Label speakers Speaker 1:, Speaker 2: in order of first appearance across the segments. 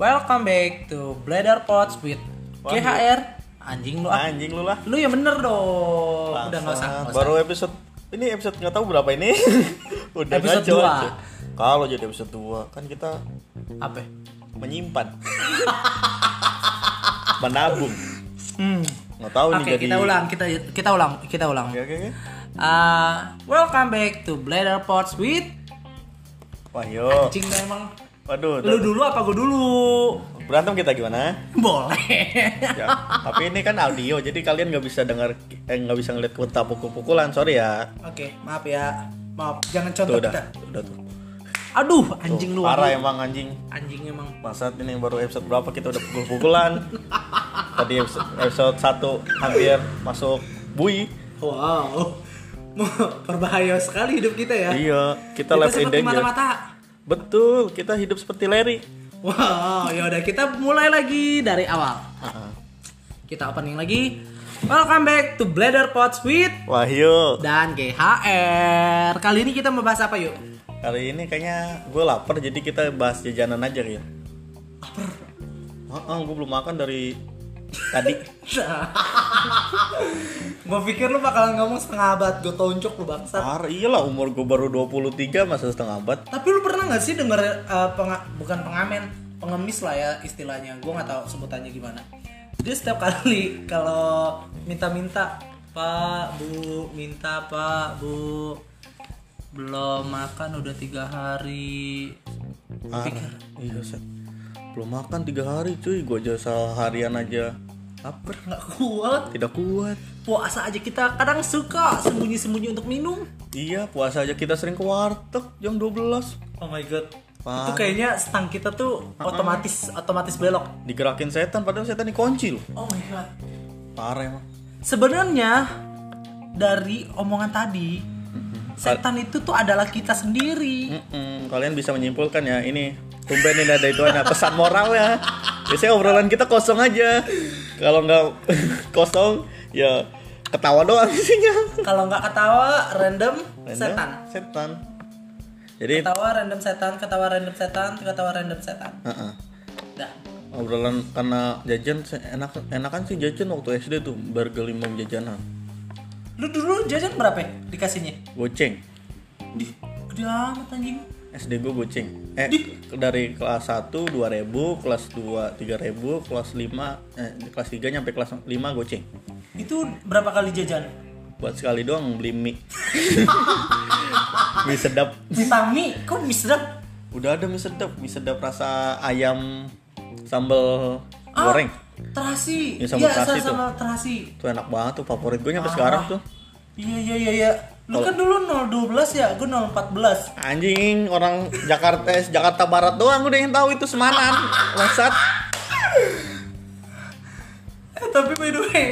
Speaker 1: Welcome back to Bladder Pots with
Speaker 2: Waduh.
Speaker 1: GHR Anjing lu ah.
Speaker 2: Anjing lu lah.
Speaker 1: Lu yang bener dong Udah
Speaker 2: Bangsat.
Speaker 1: gak usah, nggak usah.
Speaker 2: Baru episode ini episode nggak tahu berapa ini. Udah
Speaker 1: Episode
Speaker 2: ngaco
Speaker 1: dua.
Speaker 2: aja. Kalau jadi episode 2 kan kita
Speaker 1: Apa ya?
Speaker 2: menyimpan. Menabung.
Speaker 1: Hmm.
Speaker 2: Nggak tahu
Speaker 1: Oke
Speaker 2: nih jadi.
Speaker 1: kita ulang kita kita ulang kita ulang
Speaker 2: Oke, oke, oke.
Speaker 1: Ah, Welcome back to Bladder Pots with
Speaker 2: Wah, yo.
Speaker 1: Anjing lu emang
Speaker 2: Waduh.
Speaker 1: Lu
Speaker 2: udah-
Speaker 1: dulu apa gue dulu?
Speaker 2: Berantem kita gimana?
Speaker 1: Boleh
Speaker 2: Ya, tapi ini kan audio, jadi kalian nggak bisa dengar, eh, nggak bisa ngeliat kita pukul-pukulan, sorry ya.
Speaker 1: Oke maaf ya Maaf jangan
Speaker 2: Tuh
Speaker 1: contoh
Speaker 2: udah,
Speaker 1: kita
Speaker 2: udah tuh.
Speaker 1: Aduh anjing lu
Speaker 2: Parah
Speaker 1: aduh.
Speaker 2: emang anjing.
Speaker 1: Anjing emang
Speaker 2: Masa ini baru episode berapa kita udah pukul-pukulan Tadi episode, episode 1 hampir masuk bui
Speaker 1: Wow Berbahaya sekali hidup kita ya
Speaker 2: Iya, kita live in
Speaker 1: seperti
Speaker 2: danger
Speaker 1: mata-mata
Speaker 2: Betul, kita hidup seperti Larry
Speaker 1: Wow, ya udah kita mulai lagi dari awal. Kita opening lagi. Welcome back to Bladder Pots with
Speaker 2: Wahyu
Speaker 1: dan GHR. Kali ini kita membahas apa yuk?
Speaker 2: Kali ini kayaknya gue lapar jadi kita bahas jajanan aja ya Lapar? gue belum makan dari tadi
Speaker 1: Gue pikir lu bakalan ngomong setengah abad, gue tonjok lu bangsa.
Speaker 2: Parah, iyalah umur gue baru 23 masa setengah abad
Speaker 1: Tapi lu pernah nggak sih denger eh, penga- bukan pengamen, pengemis lah ya istilahnya. Gue nggak tahu sebutannya gimana. Dia setiap kali kalau minta-minta, Pak, Bu, minta Pak, Bu, belum makan udah tiga hari.
Speaker 2: Parah, iya Seth. Belum makan tiga hari cuy, gue aja seharian aja Lapar
Speaker 1: Nggak kuat.
Speaker 2: Tidak kuat
Speaker 1: Puasa aja kita kadang suka sembunyi-sembunyi untuk minum.
Speaker 2: Iya, puasa aja kita sering ke warteg jam 12.
Speaker 1: Oh my god. Itu
Speaker 2: Parah.
Speaker 1: kayaknya stang kita tuh otomatis otomatis belok.
Speaker 2: Digerakin setan, padahal setan dikunci loh.
Speaker 1: Oh my god.
Speaker 2: Parah emang.
Speaker 1: Sebenarnya dari omongan tadi
Speaker 2: Mhm.
Speaker 1: setan itu tuh adalah kita sendiri.
Speaker 2: Mm-mm, kalian bisa menyimpulkan ya, ini tumben ini ada ituannya, pesan moral ya. Biasanya obrolan kita kosong aja. Kalau nggak kosong, ya ketawa doang isinya.
Speaker 1: Kalau nggak ketawa random,
Speaker 2: Random,
Speaker 1: setan.
Speaker 2: Setan. Jadi,
Speaker 1: Ketawa random setan, ketawa random setan, ketawa random setan.
Speaker 2: uh-uh.
Speaker 1: Dah.
Speaker 2: obrolan karena jajan se- enak enakan sih jajan waktu SD tuh bergelimang jajanan.
Speaker 1: Lu dulu jajan berapa ya dikasihnya?
Speaker 2: Goceng.
Speaker 1: Dih, gede amat anjing.
Speaker 2: SD gue goceng eh dari kelas 1 2000 kelas 2 3000 kelas 5 eh, kelas 3 nyampe kelas 5 goceng
Speaker 1: Itu berapa kali jajan?
Speaker 2: buat sekali doang beli mie mie sedap
Speaker 1: Bintang mie, kok mie sedap?
Speaker 2: udah ada mie sedap mie sedap rasa ayam sambal
Speaker 1: Ah,
Speaker 2: goreng
Speaker 1: Terasi.
Speaker 2: Ya,
Speaker 1: Iya,
Speaker 2: sama terasi tuh.
Speaker 1: sama terasi.
Speaker 2: tuh enak banget tuh favorit gue nyampe sekarang tuh
Speaker 1: Iya, iya, iya, iya. Lu kan dulu 012 ya, gue 014.
Speaker 2: anjing orang Jakarta eh, Jakarta Barat doang udah yang tahu itu semanan Maksud
Speaker 1: Eh, tapi by the way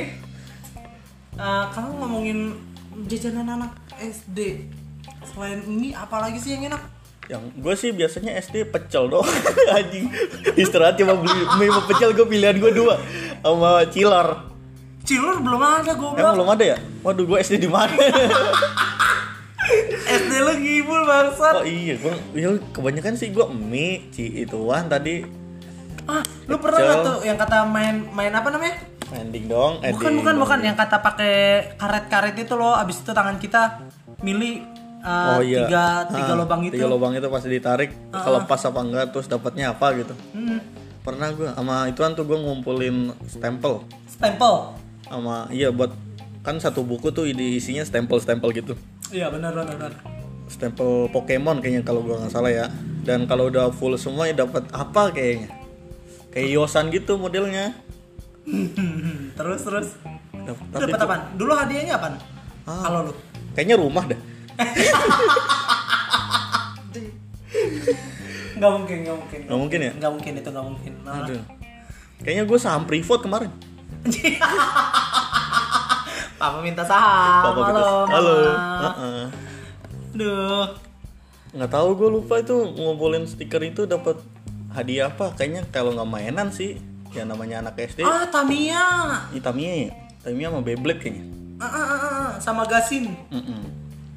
Speaker 1: eh, kamu ngomongin jajanan anak SD selain ini apalagi sih yang enak
Speaker 2: yang gue sih biasanya SD pecel dong anjing istirahat cuma beli mie sama pecel gue pilihan gue dua sama cilor
Speaker 1: cilor belum ada goblok
Speaker 2: emang belum ada ya waduh gue SD di mana
Speaker 1: SD lu ngibul bangsat
Speaker 2: oh iya gue ya kebanyakan sih gue mie ci ituan tadi
Speaker 1: ah lu pernah nggak
Speaker 2: Pecel.
Speaker 1: tuh yang kata main main apa namanya
Speaker 2: ending dong ending
Speaker 1: bukan bukan bukan yang kata pakai karet-karet itu loh abis itu tangan kita milih eh,
Speaker 2: oh iya
Speaker 1: tiga tiga
Speaker 2: Ah,
Speaker 1: lobang itu Ah.
Speaker 2: tiga lobang itu pasti ditarik kalau pas apa enggak terus dapatnya apa gitu
Speaker 1: Hmm.
Speaker 2: pernah gue sama ituan tuh gue ngumpulin stempel
Speaker 1: stempel
Speaker 2: sama iya buat kan satu buku tuh isinya stempel-stempel gitu
Speaker 1: iya benar benar benar
Speaker 2: stempel Pokemon kayaknya kalau gua nggak salah ya. Dan kalau udah full semua ya dapat apa kayaknya? Kayak Yosan gitu modelnya.
Speaker 1: terus terus
Speaker 2: Dap-
Speaker 1: Lu
Speaker 2: tapi Ah.
Speaker 1: dapat apaan dulu hadiahnya apaan kalau lu
Speaker 2: kayaknya rumah dah.
Speaker 1: nggak mungkin nggak mungkin
Speaker 2: Nggak mungkin ya?
Speaker 1: nggak mungkin itu nggak mungkin Malah-
Speaker 2: Aduh. Kayaknya gue saham Privat kemarin.
Speaker 1: Papa minta saham.
Speaker 2: Papa
Speaker 1: Halo.
Speaker 2: gitu. Halo.
Speaker 1: Mama.
Speaker 2: Heeh.
Speaker 1: Duh.
Speaker 2: Nggak tahu gue lupa itu ngumpulin stiker itu dapat hadiah apa? Kayaknya kalau nggak mainan sih. Ya namanya anak SD.
Speaker 1: Ah, Tamia.
Speaker 2: Ini Tamiya ya? Tamiya sama Beyblade kayaknya.
Speaker 1: Ah, ah, ah, ah. sama Gasin.
Speaker 2: Mm-mm.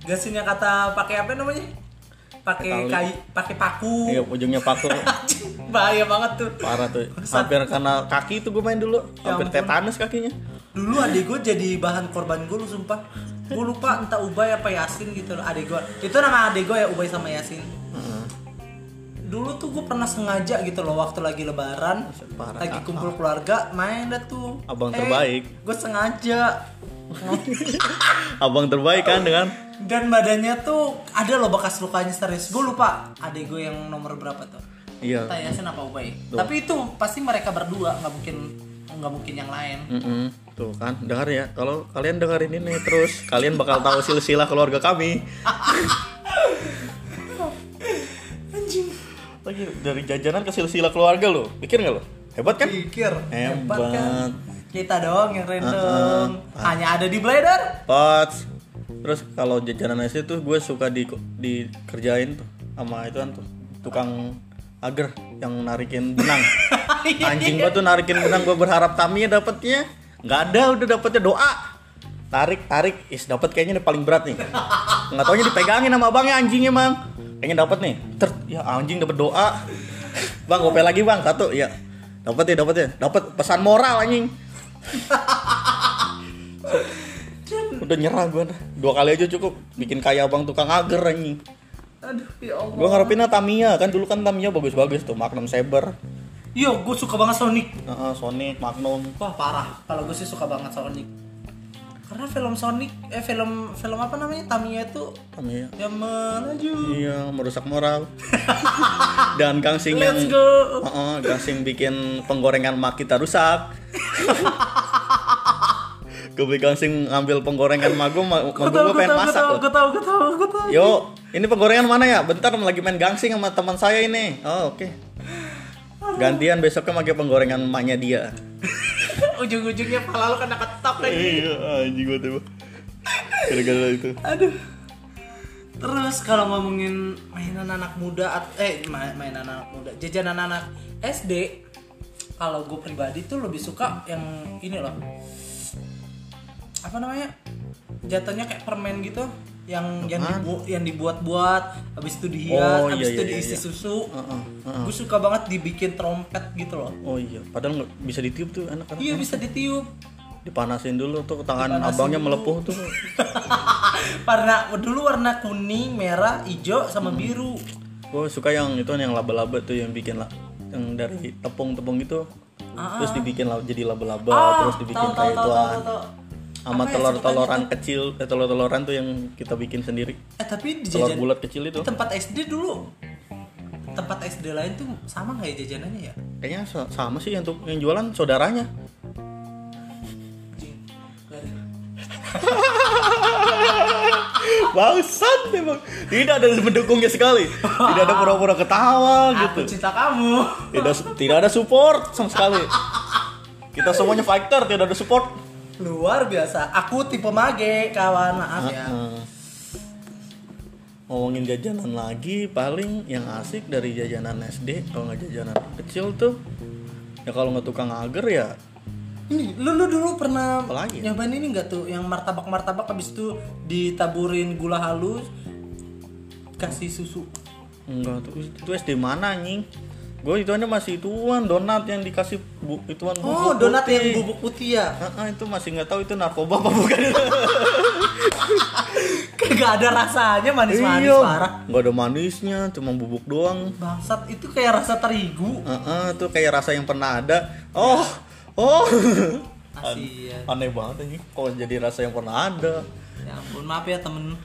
Speaker 1: Gasin yang kata pakai apa namanya? pakai
Speaker 2: Pakai tali.
Speaker 1: kayu pakai paku
Speaker 2: Iya, ujungnya paku
Speaker 1: bahaya banget tuh
Speaker 2: parah tuh. Hampir karena kaki itu gue main dulu,
Speaker 1: Ya
Speaker 2: hampir
Speaker 1: ampun.
Speaker 2: tetanus kakinya.
Speaker 1: dulu adik gue jadi bahan korban gue lu sumpah gue lupa entah Ubay apa Yasin gitu loh adik gue itu nama adik gue ya Ubay sama Yasin dulu tuh gue pernah sengaja gitu loh waktu lagi lebaran
Speaker 2: Parah.
Speaker 1: lagi kumpul keluarga main dah tuh
Speaker 2: Ah. Abang terbaik.
Speaker 1: gue sengaja
Speaker 2: Abang terbaik kan dengan
Speaker 1: dan badannya tuh ada loh bekas lukanya serius gue lupa adik gue yang nomor berapa tuh
Speaker 2: Iya.
Speaker 1: entah Yasin apa Ubay tapi itu pasti mereka berdua nggak mungkin nggak mungkin yang lain
Speaker 2: Mm-mm. Tuh kan, dengar ya. Kalau kalian dengerin ini terus, kalian bakal tahu silsilah keluarga kami.
Speaker 1: anjing
Speaker 2: Lagi dari jajanan ke silsilah keluarga lo. Pikir nggak lo? Hebat kan?
Speaker 1: pikir kan?
Speaker 2: Hebat. kan?
Speaker 1: kita doang yang random hanya ada di blader
Speaker 2: Pots. Terus kalau jajanan SD tuh gue suka di dikerjain tuh sama itu kan tuh tukang agar yang narikin benang. Anjing gua tuh narikin benang gue berharap Tamiya dapetnya. Nggak ada udah dapetnya doa. Tarik tarik is dapat kayaknya ini paling berat nih. Nggak taunya dipegangin sama abangnya anjingnya mang. Kayaknya dapat nih. Ter ya anjing dapat doa. Bang gope lagi bang satu ya. Dapat ya dapat ya. Dapat pesan moral anjing. Udah nyerah gue dah. Dua kali aja cukup bikin kaya abang tukang agar anjing.
Speaker 1: aduh ya allah
Speaker 2: Gue ngarepinnya Tamiya kan dulu kan Tamiya bagus-bagus tuh Magnum Saber,
Speaker 1: yo gue suka banget Sonic
Speaker 2: Heeh, Sonic, Magnum.
Speaker 1: wah parah kalau gue sih suka banget Sonic karena film Sonic eh film film apa namanya Tamiya itu
Speaker 2: Tamiya.
Speaker 1: yang melaju
Speaker 2: Iya, merusak moral. Dan Kang Sing yang
Speaker 1: let's go
Speaker 2: Heeh, Kang Sing bikin penggorengan mak kita rusak. gue beli Kang Sing ngambil penggorengan mak gue, mak
Speaker 1: gue
Speaker 2: gue
Speaker 1: tau gue
Speaker 2: pengen
Speaker 1: tau gue
Speaker 2: masak
Speaker 1: tau
Speaker 2: loh.
Speaker 1: gue tau gue tau gue tau
Speaker 2: Yo, ini penggorengan mana ya? Bentar lagi main gangsing sama teman saya ini. Oh, oke. Gantian besoknya pakai penggorengan emaknya dia.
Speaker 1: ujung-ujungnya pala lu kena ketap lagi
Speaker 2: Iya, anjing gue tuh. Gara-gara itu.
Speaker 1: Aduh. Terus kalau ngomongin mainan anak muda at- eh ma- mainan anak muda, jajanan anak SD kalau gue pribadi tuh lebih suka yang ini loh. Apa namanya? Jatuhnya kayak permen gitu yang yang dibu- yang dibuat-buat, habis itu dihias,
Speaker 2: Oh,
Speaker 1: habis
Speaker 2: iya,
Speaker 1: itu
Speaker 2: iya,
Speaker 1: diisi
Speaker 2: iya.
Speaker 1: susu.
Speaker 2: Heeh, heeh.
Speaker 1: Gue suka banget dibikin trompet gitu loh.
Speaker 2: Oh iya, padahal nggak bisa ditiup tuh anak-anak.
Speaker 1: Iya bisa ditiup.
Speaker 2: Dipanasin dulu tuh tangan
Speaker 1: Dipanasin
Speaker 2: abangnya
Speaker 1: dulu.
Speaker 2: melepuh tuh.
Speaker 1: warna dulu warna kuning, merah, hijau sama
Speaker 2: Hmm.
Speaker 1: biru.
Speaker 2: Gue suka yang itu yang laba-laba tuh yang bikin lah yang dari tepung-tepung gitu. Terus dibikin lah jadi laba-laba, Oh, terus dibikin
Speaker 1: Ah. tahu, tahu,
Speaker 2: kayak
Speaker 1: tahu,
Speaker 2: ituan.
Speaker 1: tahu, tahu.
Speaker 2: Sama
Speaker 1: Apa ya
Speaker 2: telur-teloran kecil, eh, telur-teloran tuh yang kita bikin sendiri.
Speaker 1: Eh tapi di
Speaker 2: Telur
Speaker 1: jajan
Speaker 2: bulat kecil
Speaker 1: di
Speaker 2: itu.
Speaker 1: tempat SD dulu tempat SD lain tuh sama nggak ya jajanannya ya?
Speaker 2: Kayaknya sa- sama sih yang, tuh- yang jualan saudaranya.
Speaker 1: Anjing, garing.
Speaker 2: Bangsat memang. Tidak ada mendukungnya sekali. Tidak ada pura-pura ketawa
Speaker 1: Aku
Speaker 2: gitu.
Speaker 1: cinta kamu.
Speaker 2: Tidak tidak ada support sama sekali. Kita semuanya fighter, tidak ada support.
Speaker 1: Luar biasa. Aku tipe mage kawan maaf ya.
Speaker 2: Eh, ngomongin jajanan lagi paling yang asik dari jajanan SD kalau nggak jajanan kecil tuh ya kalau nggak tukang agar ya
Speaker 1: Ini lu, lu dulu pernah
Speaker 2: Apa lagi ya?
Speaker 1: nyobain ini nggak tuh yang martabak martabak habis itu ditaburin gula halus kasih susu.
Speaker 2: enggak tuh itu SD mana anjing gue itu masih ituan donat yang dikasih bu, ituan
Speaker 1: Oh,
Speaker 2: bubuk
Speaker 1: donat yang
Speaker 2: putih.
Speaker 1: bubuk putih ya.
Speaker 2: Ah, ah, itu masih nggak tahu itu narkoba apa bukan
Speaker 1: Kagak ada rasanya manis-manis
Speaker 2: Iya.
Speaker 1: parah.
Speaker 2: nggak ada manisnya cuma bubuk doang
Speaker 1: Bangsat itu kayak rasa terigu.
Speaker 2: Ah, ah, itu kayak rasa yang pernah ada oh oh
Speaker 1: Asia.
Speaker 2: aneh banget anjing kok jadi rasa yang pernah ada
Speaker 1: Ya ampun, maaf ya temen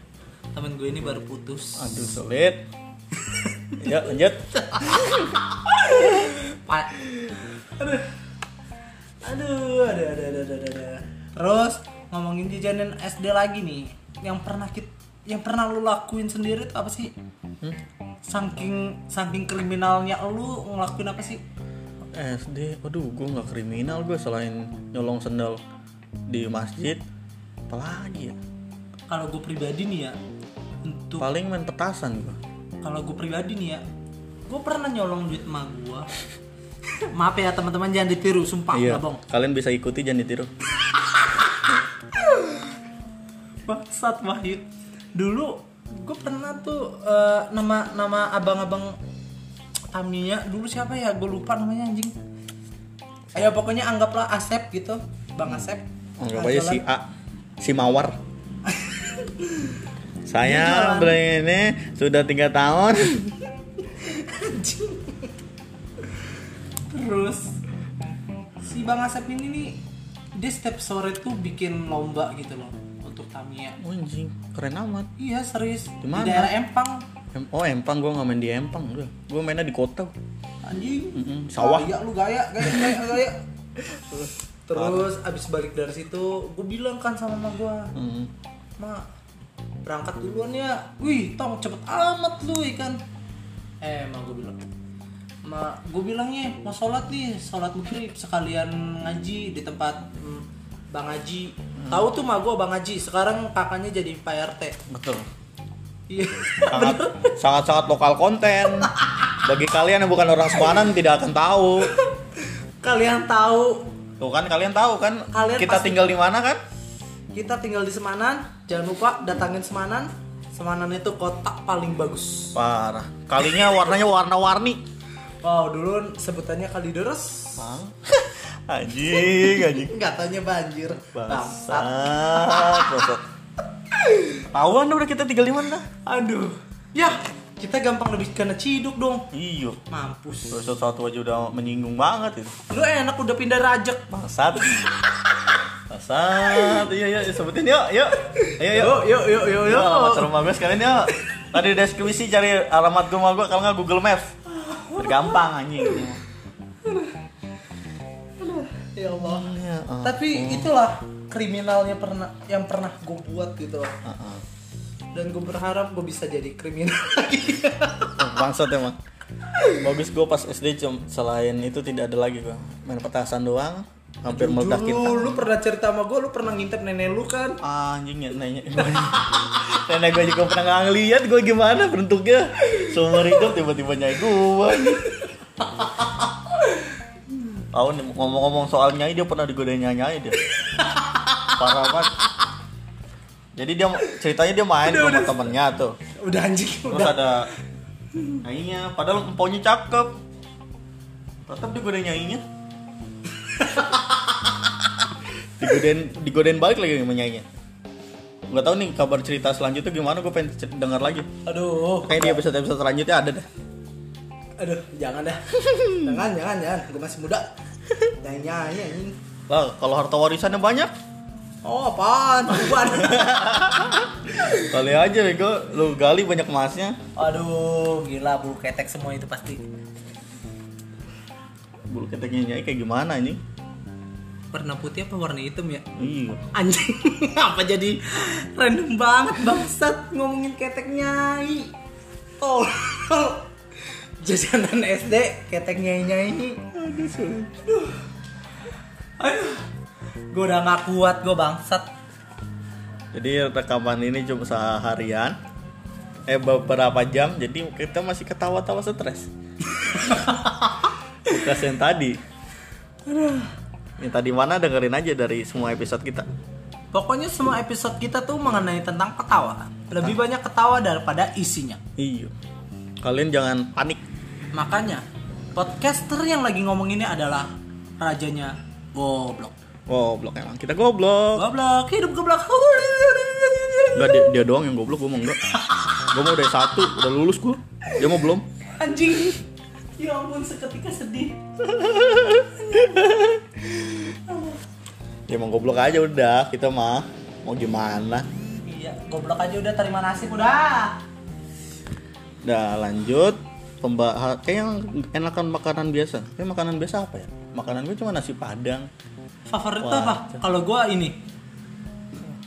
Speaker 1: temen gue ini baru putus.
Speaker 2: aduh sulit ya lanjut
Speaker 1: Pa- aduh. Aduh, aduh, aduh, aduh, aduh, aduh, aduh. Terus ngomongin jajanan SD lagi nih, yang pernah kita yang pernah lu lakuin sendiri tuh apa sih? Saking saking kriminalnya lu ngelakuin apa sih?
Speaker 2: SD aduh gue nggak kriminal gue selain nyolong sendal di masjid apalagi ya
Speaker 1: Kalau gue pribadi nih ya, untuk
Speaker 2: paling main petasan gue
Speaker 1: kalau gue pribadi nih ya gue pernah nyolong duit emak gue maaf ya teman-teman jangan ditiru sumpah
Speaker 2: Ah, Iya.
Speaker 1: nggak bohong
Speaker 2: kalian bisa ikuti jangan ditiru
Speaker 1: bangsat Wahyu dulu gue pernah tuh eh, nama nama abang-abang Tamiya dulu siapa ya gue lupa namanya anjing ayo pokoknya anggaplah Asep gitu bang Asep Nah,
Speaker 2: Anggap aja
Speaker 1: jalan.
Speaker 2: si A, si Mawar.
Speaker 1: Dia
Speaker 2: Saya
Speaker 1: jualan.
Speaker 2: brand ini sudah tiga tahun.
Speaker 1: terus si bang Asep ini nih dia setiap sore tuh bikin lomba gitu loh untuk Tamiya
Speaker 2: Oh, Anjing, keren amat.
Speaker 1: iya serius
Speaker 2: Di mana?
Speaker 1: di daerah Empang
Speaker 2: Em- Oh Empang, gue nggak main di Empang, gue gue mainnya di kota.
Speaker 1: anjing
Speaker 2: Mm-mm, sawah.
Speaker 1: Gaya lu gaya, gaya, gaya, gaya. Terus abis balik dari situ, gue bilang kan sama mama gue,
Speaker 2: Mm.
Speaker 1: ma berangkat duluan ya. Wih, tong cepet amat lu ikan. Eh, ma gue bilang, ma gue bilangnya mau sholat nih, sholat maghrib sekalian ngaji di tempat mm, bang Haji.
Speaker 2: Hmm.
Speaker 1: Tahu tuh ma gue bang Haji, sekarang kakaknya jadi Pak RT.
Speaker 2: Betul.
Speaker 1: Iya.
Speaker 2: Sangat sangat sangat lokal konten. Bagi kalian yang bukan orang Semarang tidak akan tahu.
Speaker 1: Kalian tahu
Speaker 2: Tuh kan kalian tahu kan
Speaker 1: Kalian
Speaker 2: kita
Speaker 1: pasti-
Speaker 2: tinggal di mana kan?
Speaker 1: Kita tinggal di Semanan, jangan lupa datangin Semanan. Semanan itu kota paling bagus.
Speaker 2: Parah. Kalinya warnanya warna-warni.
Speaker 1: Wow, dulu sebutannya Kalideres.
Speaker 2: anjing, anjing.
Speaker 1: Enggak tanya banjir.
Speaker 2: Bangsat. Bangsat. Tahuan udah kita tinggal di mana?
Speaker 1: Aduh. Ya, kita gampang lebih kena ciduk dong.
Speaker 2: Iyo.
Speaker 1: Mampus.
Speaker 2: Terus Iya. satu aja udah menyinggung banget itu.
Speaker 1: Lu enak udah pindah rajek.
Speaker 2: Bangsat. Bangsat. Iya iya sebutin yuk, yuk. Ayo yuk.
Speaker 1: Yuk, yuk, yuk, yuk,
Speaker 2: Yo, alamat
Speaker 1: yuk.
Speaker 2: rumah gue sekalian yuk. Tadi deskripsi cari alamat rumah gue kalau nggak Google Maps. Gampang anjing.
Speaker 1: Ya Allah.
Speaker 2: Iya.
Speaker 1: Tapi itulah kriminalnya pernah yang pernah gue buat gitu. loh.
Speaker 2: Heeh.
Speaker 1: Dan gue berharap gue bisa jadi kriminal lagi.
Speaker 2: Oh, Bangsat emang. Bagus gue pas SD cum selain itu tidak ada lagi gue main petasan doang hampir meledak
Speaker 1: Dulu
Speaker 2: kita.
Speaker 1: lu pernah cerita sama gue, lu pernah ngintip nenek lu kan?
Speaker 2: Anjing ya nanya. Nenek gue juga pernah nggak ngeliat gue gimana bentuknya. Seumur hidup tiba-tiba nyai gue. Tahu nih ngomong-ngomong soal nyai dia pernah digodain nyai dia. Parah banget. Jadi dia ceritanya dia main
Speaker 1: Udah,
Speaker 2: sama
Speaker 1: udah.
Speaker 2: temennya tuh.
Speaker 1: Udah anjing,
Speaker 2: Terus
Speaker 1: udah.
Speaker 2: ada nyainya, padahal empoknya cakep. Tetap digodain nyainya. digodain digodain balik lagi sama nyainya. Gak tau nih kabar cerita selanjutnya gimana, gue pengen cer- dengar lagi.
Speaker 1: Aduh,
Speaker 2: Kayak di episode episode selanjutnya ada dah.
Speaker 1: aduh, jangan dah. jangan, jangan, jangan. Gue masih muda. Jangan nyanyi anjing.
Speaker 2: Lah, kalau harta warisannya banyak,
Speaker 1: Oh, apaan? Apaan?
Speaker 2: kali aja bego, lu gali banyak emasnya.
Speaker 1: aduh, gila bulu ketek semua itu pasti.
Speaker 2: Bulu keteknya nyai kayak gimana ini?
Speaker 1: Warna putih apa warna hitam ya?
Speaker 2: Iya.
Speaker 1: Anjing, apa jadi random banget bangsat ngomongin ketek nyai. Tolol. Jajanan SD ketek nyai-nyai ini. Aduh, sulit. Aduh. Gue udah gak kuat gue bangsat.
Speaker 2: Jadi rekaman ini cuma seharian Eh beberapa jam Jadi kita masih ketawa-tawa stres Stres yang tadi Yang tadi mana dengerin aja dari semua episode kita
Speaker 1: Pokoknya semua episode kita tuh mengenai tentang ketawa. Lebih banyak ketawa daripada isinya.
Speaker 2: Iya Kalian jangan panik
Speaker 1: Makanya, podcaster yang lagi ngomong ini adalah rajanya goblok.
Speaker 2: Goblok emang Kita goblok
Speaker 1: Goblok, hidup goblok.
Speaker 2: Enggak dia, dia doang yang goblok Gue mau enggak Gue mau dari satu Udah lulus gue Dia mau belum
Speaker 1: Anjing. Ya ampun, seketika sedih.
Speaker 2: Dia mau Ya goblok aja udah Kita mah Mau gimana
Speaker 1: Iya, goblok aja udah terima nasib udah.
Speaker 2: Nah lanjut pembahasan kayak yang enakan makanan biasa. Kayak makanan biasa apa ya? Makanan gue cuma nasi padang,
Speaker 1: Favorit
Speaker 2: Wah.
Speaker 1: apa? Kalau gua ini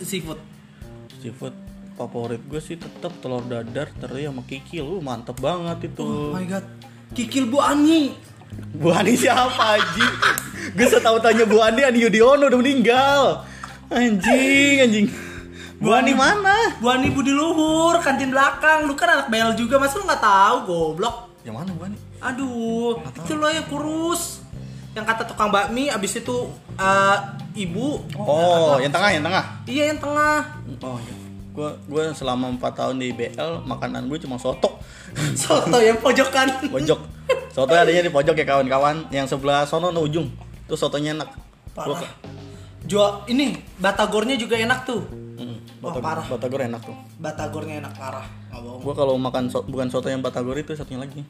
Speaker 1: seafood.
Speaker 2: seafood. Favorit gue sih tetap telur dadar teri sama kikil. Lu mantep
Speaker 1: Oh
Speaker 2: banget itu.
Speaker 1: my god. Kikil Bu Ani.
Speaker 2: Bu Ani siapa Aji? gue setahu tanya Bu Ani Ani Yudhoyono udah meninggal. Anjing, anjing. Bu Ani mana?
Speaker 1: Bu Ani Budi Luhur, kantin belakang. Lu kan anak BL juga, masa lu nggak tahu goblok?
Speaker 2: Yang mana Bu Ani?
Speaker 1: Aduh, itu lo yang kurus. Yang kata tukang bakmi abis itu eh, ibu.
Speaker 2: Oh, yang tengah, yang tengah.
Speaker 1: Iya yang tengah.
Speaker 2: Oh, gue gue selama 4 tahun di IBL makanan gue cuma soto
Speaker 1: soto yang pojokan
Speaker 2: pojok soto adanya di pojok ya kawan-kawan yang sebelah sono no ujung tuh sotonya enak Gua
Speaker 1: parah
Speaker 2: ke-
Speaker 1: jual ini batagornya juga enak tuh
Speaker 2: Mm,
Speaker 1: Wah,
Speaker 2: Batagor-
Speaker 1: parah.
Speaker 2: Batagor enak tuh
Speaker 1: batagornya enak parah nggak bohong
Speaker 2: gue kalau makan so- bukan soto yang batagor itu satunya lagi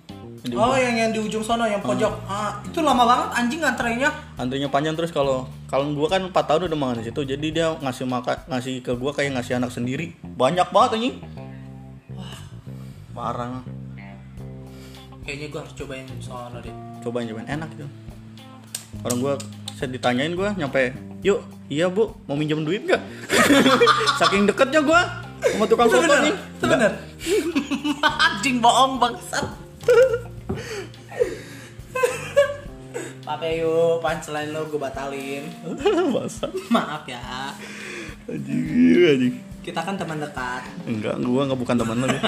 Speaker 2: Di- Hmm.
Speaker 1: oh yang yang di ujung sono yang pojok ah itu lama banget anjing antrenya
Speaker 2: antrinya panjang terus kalau kalau gua kan 4 tahun udah makan di situ jadi dia ngasih makan ngasih ke gua kayak ngasih anak sendiri banyak banget anjing wah parah lah.
Speaker 1: kayaknya gua harus cobain sono deh
Speaker 2: cobain cobain enak gitu orang gua saya ditanyain gua nyampe yuk iya bu mau minjem duit gak saking deketnya gua sama tukang
Speaker 1: itu
Speaker 2: soto
Speaker 1: bener
Speaker 2: nih
Speaker 1: itu bener anjing bohong bangsat Pakai yuk, ya, punchline lo gue batalin
Speaker 2: Basah.
Speaker 1: Maaf ya
Speaker 2: anjing anjing
Speaker 1: Kita kan teman dekat
Speaker 2: Enggak, gua nggak bukan teman lo ya.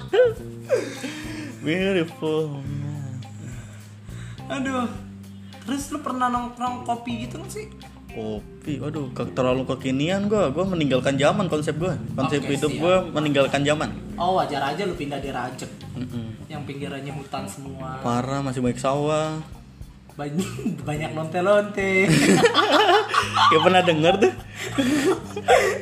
Speaker 2: Beautiful.
Speaker 1: Aduh. Terus lu pernah nongkrong kopi gitu gak sih?
Speaker 2: Kopi, waduh, ke- terlalu kekinian gua. Gua meninggalkan zaman konsep gua. Konsep
Speaker 1: Oke,
Speaker 2: hidup
Speaker 1: siap.
Speaker 2: gua meninggalkan zaman.
Speaker 1: Oh wajar aja lu pindah di Rajek
Speaker 2: Mm-mm.
Speaker 1: Yang pinggirannya hutan semua
Speaker 2: Parah, masih banyak sawah.
Speaker 1: Banyak, banyak lonte-lonte
Speaker 2: ya pernah denger tuh.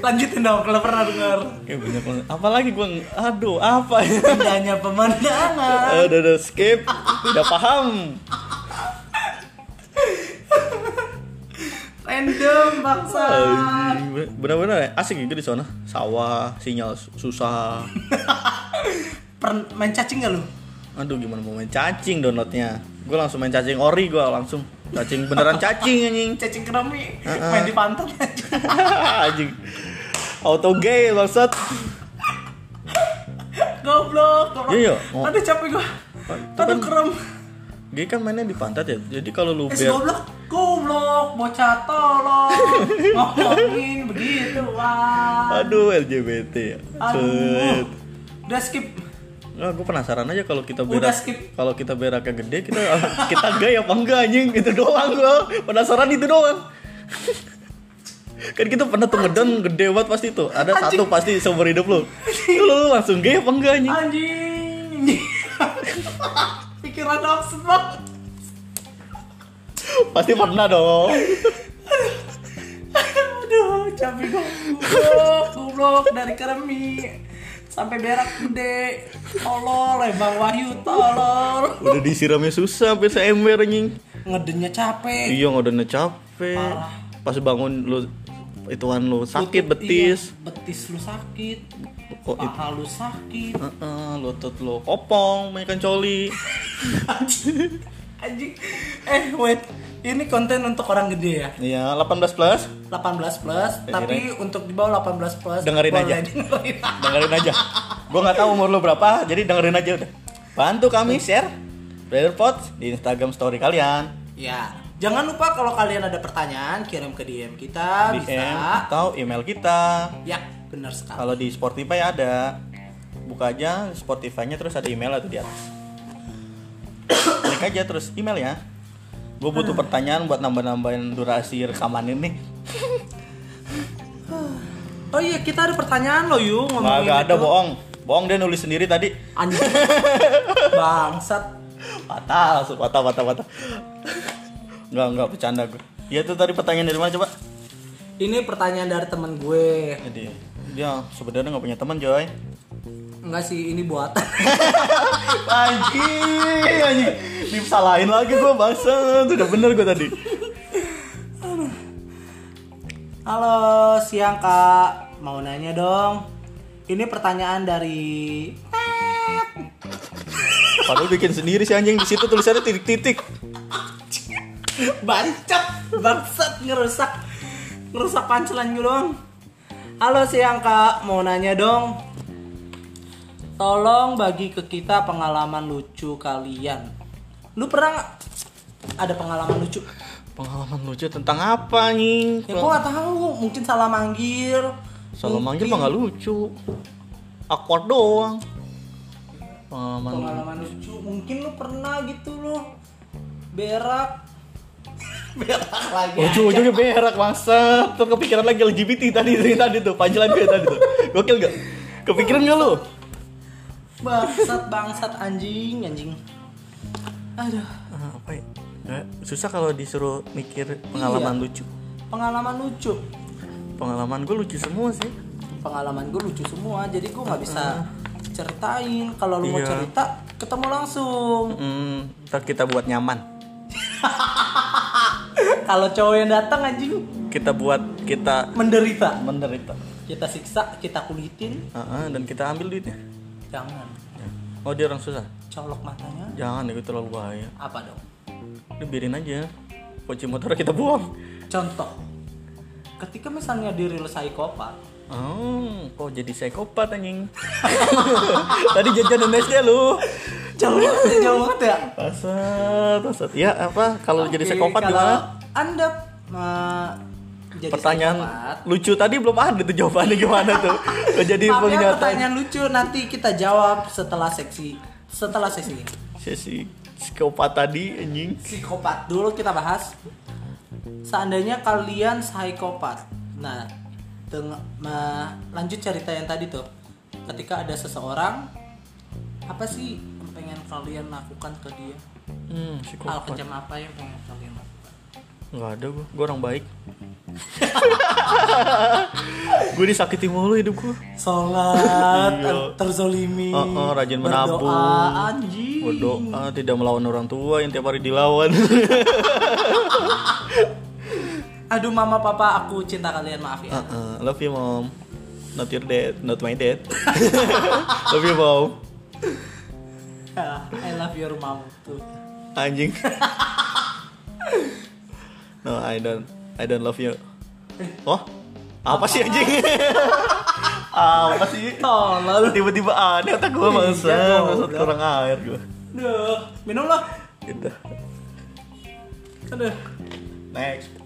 Speaker 1: Lanjutin dong kalau pernah dengar
Speaker 2: Ya banyak banget. Apalagi gua, ng- aduh, apa ya? Eh,
Speaker 1: Pindahnya pemandangan
Speaker 2: udah, udah, skip. Udah paham.
Speaker 1: Random bangsa
Speaker 2: Anjing, bener- Bener-bener ya, asik gitu di sana. Sawah, sinyal su- susah.
Speaker 1: Pern- Main cacing gak lu?
Speaker 2: Aduh gimana mau main cacing downloadnya Gue langsung main cacing ori gue langsung Cacing beneran cacing anjing
Speaker 1: Cacing kerami Main di pantat aja
Speaker 2: Anjing Auto gay maksud
Speaker 1: Goblok, goblok
Speaker 2: Iya, iya. Oh.
Speaker 1: Aduh capek gua
Speaker 2: itu
Speaker 1: Aduh
Speaker 2: kan-
Speaker 1: kerem
Speaker 2: Gay kan mainnya di pantat ya Jadi kalau lu
Speaker 1: Eh si
Speaker 2: biar
Speaker 1: goblok Goblok Bocah tolong Ngomongin begitu wah
Speaker 2: Aduh LGBT ya
Speaker 1: Aduh. Udah skip.
Speaker 2: Nah, gue penasaran aja kalau kita
Speaker 1: Udah
Speaker 2: berak
Speaker 1: skip.
Speaker 2: kalau kita beraknya gede kita kita gay apa enggak anjing itu doang gue penasaran itu doang kan kita pernah tuh ngedon gede banget pasti tuh ada satu pasti seumur hidup lu Itu lu langsung gay apa enggak anjing
Speaker 1: Anjing. Pikiran absen banget.
Speaker 2: pasti pernah dong
Speaker 1: Aduh, capek gue. Goblok, goblok dari keremi sampai berak gede. Tolol, eh, Bang Wahyu tolol.
Speaker 2: Udah disiramnya susah sampai seember anjing.
Speaker 1: Ngedennya capek.
Speaker 2: Iya udah capek.
Speaker 1: Parah.
Speaker 2: Pas bangun lu ituan lu sakit
Speaker 1: Lutut-
Speaker 2: betis. Oh,
Speaker 1: iya, betis lu sakit.
Speaker 2: Kok itu?
Speaker 1: Paha lu sakit.
Speaker 2: Heeh, lutut lu kopong, makan coli.
Speaker 1: Anjing. Anjing. Eh, wait. Ini konten untuk orang gede ya?
Speaker 2: Iya, 18 plus.
Speaker 1: 18 plus, tapi untuk di bawah 18 plus
Speaker 2: Eh, Dengerin
Speaker 1: boleh
Speaker 2: aja.
Speaker 1: dengerin.
Speaker 2: Dengerin aja. Gua nggak tahu umur lu berapa, jadi dengerin aja udah. Bantu kami share Brother Pots di Instagram story kalian,
Speaker 1: ya, jangan lupa kalau kalian ada pertanyaan kirim ke DM kita
Speaker 2: DM
Speaker 1: bisa.
Speaker 2: atau email kita.
Speaker 1: Ya, benar sekali.
Speaker 2: Kalau di Spotify ada. Buka aja Spotify-nya terus ada email atau di atas. Klik aja terus email ya. Gue butuh pertanyaan buat nambah-nambahin durasi rekaman ini.
Speaker 1: Oh iya, kita ada pertanyaan loh Yu ngomongin
Speaker 2: Nggak ada
Speaker 1: itu.
Speaker 2: bohong. Bohong dia nulis sendiri tadi.
Speaker 1: Anjing. Bangsat.
Speaker 2: Patah, langsung patah, patah, patah. Nggak, nggak bercanda gue. Iya tuh tadi pertanyaan dari mana coba?
Speaker 1: Ini pertanyaan dari temen gue.
Speaker 2: Jadi dia sebenarnya nggak punya teman Joy.
Speaker 1: Enggak sih, ini buat.
Speaker 2: Anjing, anjing. Disalahin lagi gue bahasa. Udah bener gue tadi.
Speaker 1: Halo, siang Kak. Mau nanya dong. Ini pertanyaan dari
Speaker 2: Padahal bikin sendiri si anjing di situ tulisannya titik-titik.
Speaker 1: Bancet, bangsat ngerusak ngerusak pancelan gue doang. Halo siang kak, mau nanya dong. Tolong bagi ke kita pengalaman lucu kalian. Lu pernah nggak ada pengalaman lucu?
Speaker 2: Pengalaman lucu tentang apa anjing?
Speaker 1: Ya gua gak tahu, mungkin salah manggil.
Speaker 2: Salah manggil mah nggak lucu. Awkward doang. Pengalaman
Speaker 1: Pengalaman lucu, mungkin lu pernah gitu loh berak Berak lagi.
Speaker 2: Ujung-ujungnya berak bangsa. Terus kepikiran lagi LGBT tadi tadi, tadi tuh, panjelan gue tadi tuh. Gokil gak? Kepikiran gak lu?
Speaker 1: Bangsat bangsat anjing anjing. Aduh.
Speaker 2: Ah, apa ya? Nggak, susah kalau disuruh mikir pengalaman lucu.
Speaker 1: Pengalaman lucu.
Speaker 2: Pengalaman gue lucu semua sih.
Speaker 1: Pengalaman gue lucu semua, jadi gue nggak bisa ceritain. Kalau lu mau
Speaker 2: Iya.
Speaker 1: cerita, ketemu langsung.
Speaker 2: Hmm, ntar kita buat nyaman.
Speaker 1: Kalau cowok yang datang anjing
Speaker 2: Kita buat kita
Speaker 1: menderita.
Speaker 2: menderita.
Speaker 1: Kita siksa, kita kulitin.
Speaker 2: Ah, ah, dan kita ambil duitnya.
Speaker 1: Jangan.
Speaker 2: Oh dia orang susah.
Speaker 1: Colok matanya.
Speaker 2: Jangan itu terlalu bahaya.
Speaker 1: Apa dong?
Speaker 2: Udah biarin aja. Kunci motor kita buang.
Speaker 1: Contoh. Ketika misalnya di real psikopat,
Speaker 2: Oh, kok jadi psikopat anjing? Tadi jajan SD lu.
Speaker 1: jauh banget ya, jauh banget ya.
Speaker 2: Pasat, pasat. Ya apa? Kalau jadi
Speaker 1: Oke,
Speaker 2: psikopat
Speaker 1: kalau
Speaker 2: gimana?
Speaker 1: Anda eh, jadi
Speaker 2: Pertanyaan
Speaker 1: psikopat,
Speaker 2: lucu tadi belum ada tuh jawabannya gimana tuh? Kok jadi
Speaker 1: Tapi yang
Speaker 2: pernyataan
Speaker 1: ya, pertanyaan lucu nanti kita jawab setelah seksi setelah seksi ini.
Speaker 2: sesi psikopat tadi anjing.
Speaker 1: Psikopat dulu kita bahas. Seandainya kalian psikopat. Nah, deng- ma- lanjut cerita yang tadi tuh. Ketika ada seseorang apa sih yang pengen kalian lakukan ke dia?
Speaker 2: Hmm,
Speaker 1: Hal
Speaker 2: psikopat.
Speaker 1: kejam apa yang pengen kalian lakukan?
Speaker 2: Enggak ada gua, gua orang baik. gua disakiti mulu hidup gua.
Speaker 1: Sholat, eh,
Speaker 2: Iya.
Speaker 1: terzolimi,
Speaker 2: Oh, oh, rajin menabung.
Speaker 1: berdoa, anjing.
Speaker 2: Berdoa tidak melawan orang tua yang tiap hari dilawan.
Speaker 1: Aduh mama papa aku cinta kalian maaf ya.
Speaker 2: Uh-uh, love you mom. Not your dad, not my dad. love you mom.
Speaker 1: Ya, I love your mom tuh.
Speaker 2: Anjing. no, I don't. I don't love you. Oh, apa sih anjing? apa sih?
Speaker 1: Tolol.
Speaker 2: Tiba-tiba aneh otak gue mangsa,
Speaker 1: Iya, goblok.
Speaker 2: maksud kurang air gue.
Speaker 1: Duh, minum lah.
Speaker 2: Gitu.
Speaker 1: Aduh.
Speaker 2: Next.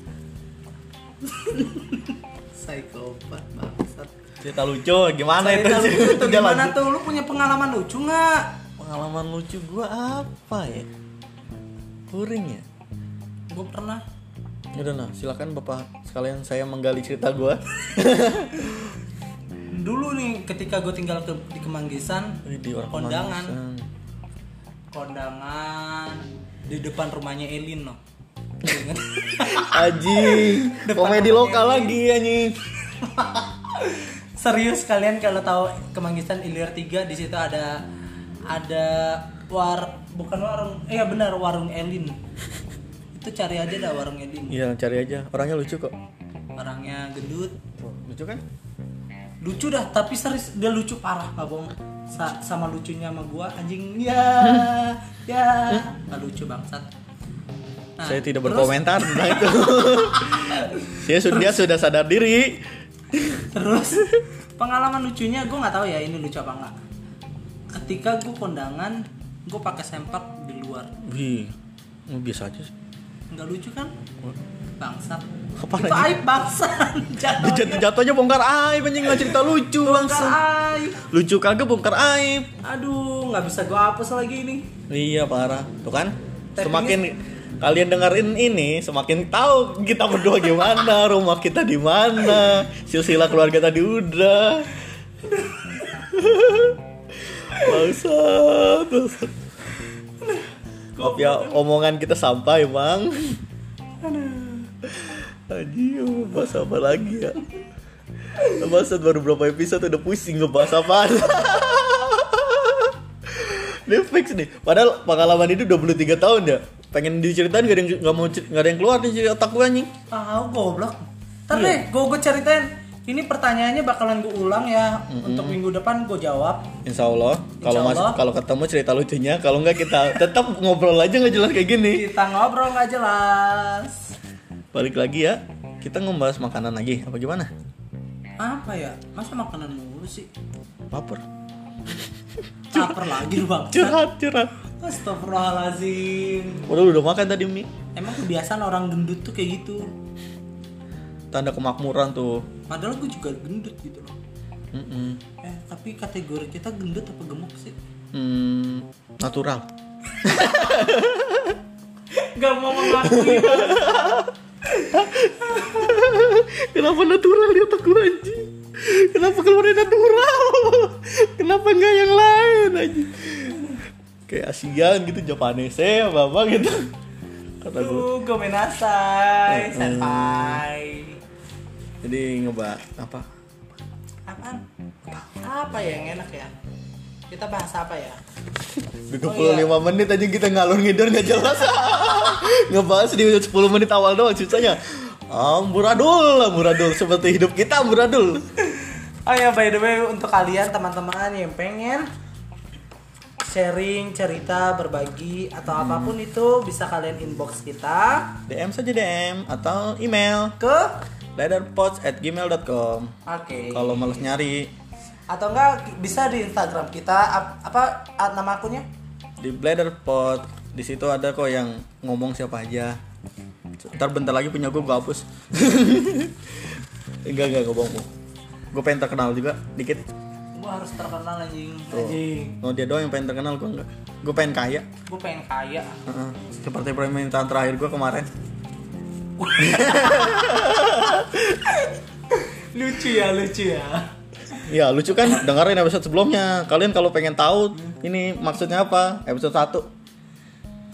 Speaker 1: Psikopat bangsat.
Speaker 2: Cerita lucu gimana itu?
Speaker 1: Cerita lucu tuh
Speaker 2: Udah
Speaker 1: gimana
Speaker 2: lanjut.
Speaker 1: tuh? Lu punya pengalaman lucu nggak?
Speaker 2: Pengalaman lucu gue apa ya? Kuring ya.
Speaker 1: Gue pernah.
Speaker 2: Udah nah, silakan bapak sekalian saya menggali cerita gue.
Speaker 1: Dulu nih ketika gue tinggal ke- di Kemanggisan,
Speaker 2: Di orang
Speaker 1: Kondangan.
Speaker 2: Kemanggisan.
Speaker 1: kondangan di depan rumahnya Elin noh.
Speaker 2: Anjing, komedi lokal lagi anjing.
Speaker 1: Serius kalian kalau tahu Kemanggisan Ilir 3 di situ ada ada war bukan warung eh ya benar warung Elin. Itu cari aja dah warung Elin.
Speaker 2: Iya, cari aja. Orangnya lucu kok.
Speaker 1: Orangnya gendut.
Speaker 2: Lucu kan?
Speaker 1: Lucu dah tapi serius dia lucu parah nggak bohong. Sa- sama lucunya sama gua anjing ya ya nggak lucu bangsat. Nah,
Speaker 2: Saya tidak
Speaker 1: terus-
Speaker 2: berkomentar tentang itu. Saya sudah dia sudah sadar diri.
Speaker 1: Terus pengalaman lucunya gue nggak tahu ya ini lucu apa enggak. Ketika gue kondangan, gue pakai sempak di luar.
Speaker 2: Wih, oh, biasa aja sih.
Speaker 1: Nggak lucu kan? Bangsat.
Speaker 2: Apa
Speaker 1: Itu
Speaker 2: lagi?
Speaker 1: aib bangsat. Jangan
Speaker 2: Jatuh jatuhnya bongkar aib anjing nggak cerita lucu langsung.
Speaker 1: aib.
Speaker 2: Lucu kagak bongkar aib.
Speaker 1: Aduh, nggak bisa gue hapus lagi ini.
Speaker 2: Iya parah, tuh kan?
Speaker 1: Tapi
Speaker 2: Semakin kalian dengerin ini, semakin tahu kita berdua gimana, rumah kita di mana, silsilah keluarga tadi udah. Bangsat. bangsat. Maaf ya, omongan kita sampai, Bang. Aduh, bahas apa lagi ya? Bahasa baru berapa episode udah pusing ngebahas apaan Ini fix nih. Padahal pengalaman itu 23 tahun ya. Pengen diceritain gak ada yang gak mau cer- gak ada yang keluar nih dari otak gue anjing.
Speaker 1: Ah, goblok.
Speaker 2: Iya.
Speaker 1: Ntar deh, gue gue ceritain. Ini pertanyaannya bakalan gue ulang ya untuk minggu depan gue jawab.
Speaker 2: Insya Allah, kalau
Speaker 1: Insya
Speaker 2: mas
Speaker 1: Allah.
Speaker 2: kalau ketemu cerita lucunya, kalau nggak kita tetap ngobrol aja nggak jelas kayak gini.
Speaker 1: Kita ngobrol nggak jelas.
Speaker 2: Balik lagi ya, kita ngebahas makanan lagi, apa gimana?
Speaker 1: Apa ya? Masa makanan mulu sih?
Speaker 2: Lapar.
Speaker 1: Caper lagi lu bang.
Speaker 2: Curhat, curhat.
Speaker 1: Astagfirullahaladzim
Speaker 2: Udah udah makan tadi mie.
Speaker 1: Emang kebiasaan orang gendut tuh kayak gitu
Speaker 2: Tanda kemakmuran tuh.
Speaker 1: Padahal gue juga gendut gitu loh
Speaker 2: Mm-mm.
Speaker 1: Eh tapi kategori kita gendut apa gemuk sih?
Speaker 2: Hmm, natural.
Speaker 1: gak mau mengakui Bang.
Speaker 2: Kenapa natural di otak gue anjing? Kenapa keluarnya natural? Kenapa enggak yang lain anjing? Kayak Asian gitu, Japanese apa apa gitu. Kata gue.
Speaker 1: Tuh, gomenasai, senpai.
Speaker 2: Jadi ngebak apa?
Speaker 1: Apaan? Apa ya yang enak ya? Kita bahas apa ya?
Speaker 2: 35 menit aja kita ngalur ngider nggak jelas. Ngebahas di 10 menit awal doang susahnya. Amburadul, amburadul seperti hidup kita amburadul.
Speaker 1: Oh ya by the way untuk kalian teman-teman yang pengen sharing cerita berbagi atau apapun itu bisa kalian inbox kita
Speaker 2: DM saja DM atau email
Speaker 1: ke
Speaker 2: dadarpods@gmail.com.
Speaker 1: oke
Speaker 2: Kalau males nyari
Speaker 1: atau enggak ki- bisa di Instagram kita ap- apa at- nama akunnya
Speaker 2: di bladder pot di situ ada kok yang ngomong siapa aja ntar bentar lagi punya gue gue hapus enggak enggak gue bohong gue pengen terkenal juga dikit
Speaker 1: gua harus terkenal anjing anjing
Speaker 2: mau dia doang yang pengen terkenal gue enggak gue pengen kaya
Speaker 1: gua pengen kaya
Speaker 2: Heeh. seperti permintaan terakhir gue kemarin
Speaker 1: lucu ya lucu ya
Speaker 2: ya lucu kan dengerin episode sebelumnya kalian kalau pengen tahu ini maksudnya apa episode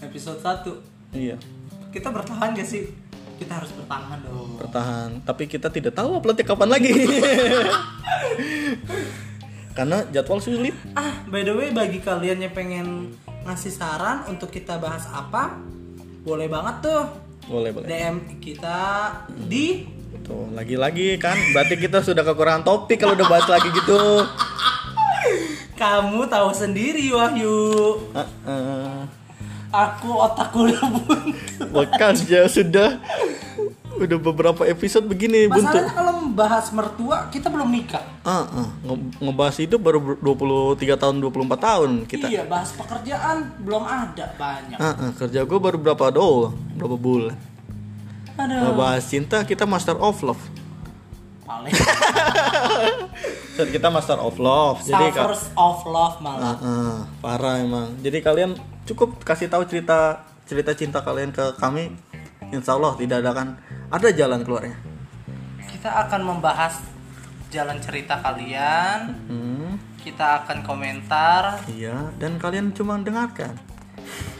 Speaker 1: episode 1
Speaker 2: 1 iya
Speaker 1: kita bertahan gak sih kita harus bertahan dong
Speaker 2: bertahan tapi kita tidak tahu uploadnya kapan lagi karena jadwal sulit
Speaker 1: Ah, by the way bagi kalian yang pengen ngasih saran untuk kita bahas apa, boleh banget tuh
Speaker 2: boleh boleh
Speaker 1: DM kita di
Speaker 2: Tuh, Gitu. lagi-lagi kan berarti kita sudah kekurangan topik kalau udah bahas lagi gitu.
Speaker 1: kamu tahu sendiri Wahyu.
Speaker 2: Ah, ah.
Speaker 1: Aku otakku udah buntu.
Speaker 2: Bukan ya sudah udah beberapa episode begini buntu.
Speaker 1: Masalahnya kalau membahas mertua kita belum nikah.
Speaker 2: Ah, ah. Nge- ngebahas hidup baru ber- 23 tahun 24 tahun kita.
Speaker 1: Iya, bahas pekerjaan belum ada banyak.
Speaker 2: Ah, ah. kerja gue baru berapa doang, berapa bulan.
Speaker 1: Aduh,
Speaker 2: Ngebahas cinta kita master of love.
Speaker 1: paling
Speaker 2: Dan kita master of love. Jadi ka-
Speaker 1: suffers of love malah.
Speaker 2: Ah, ah. parah emang. Jadi kalian cukup kasih tahu cerita cerita cinta kalian ke kami. Insya Allah tidak ada kan ada jalan keluarnya.
Speaker 1: Kita akan membahas jalan cerita kalian.
Speaker 2: Hmm,
Speaker 1: Kita akan komentar
Speaker 2: iya, dan kalian cuma dengarkan.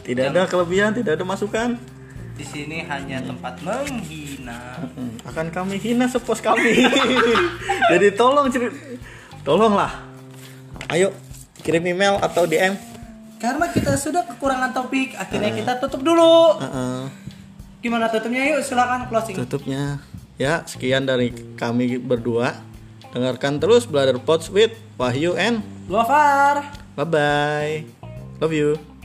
Speaker 2: Tidak ada kelebihan, tidak ada masukan.
Speaker 1: Di sini hanya tempat menghina.
Speaker 2: Hmm, akan kami hina sepos kami. Jadi tolong ceri- tolonglah. Ayo kirim email atau DM.
Speaker 1: Karena kita sudah kekurangan topik, akhirnya kita tutup dulu.
Speaker 2: Ah, ah,
Speaker 1: Gimana tutupnya? Yuk, silakan closing.
Speaker 2: tutupnya. Ya, sekian dari kami berdua. Dengarkan terus Brother Pots with Wahyu and
Speaker 1: Luafar.
Speaker 2: Bye bye. Love you.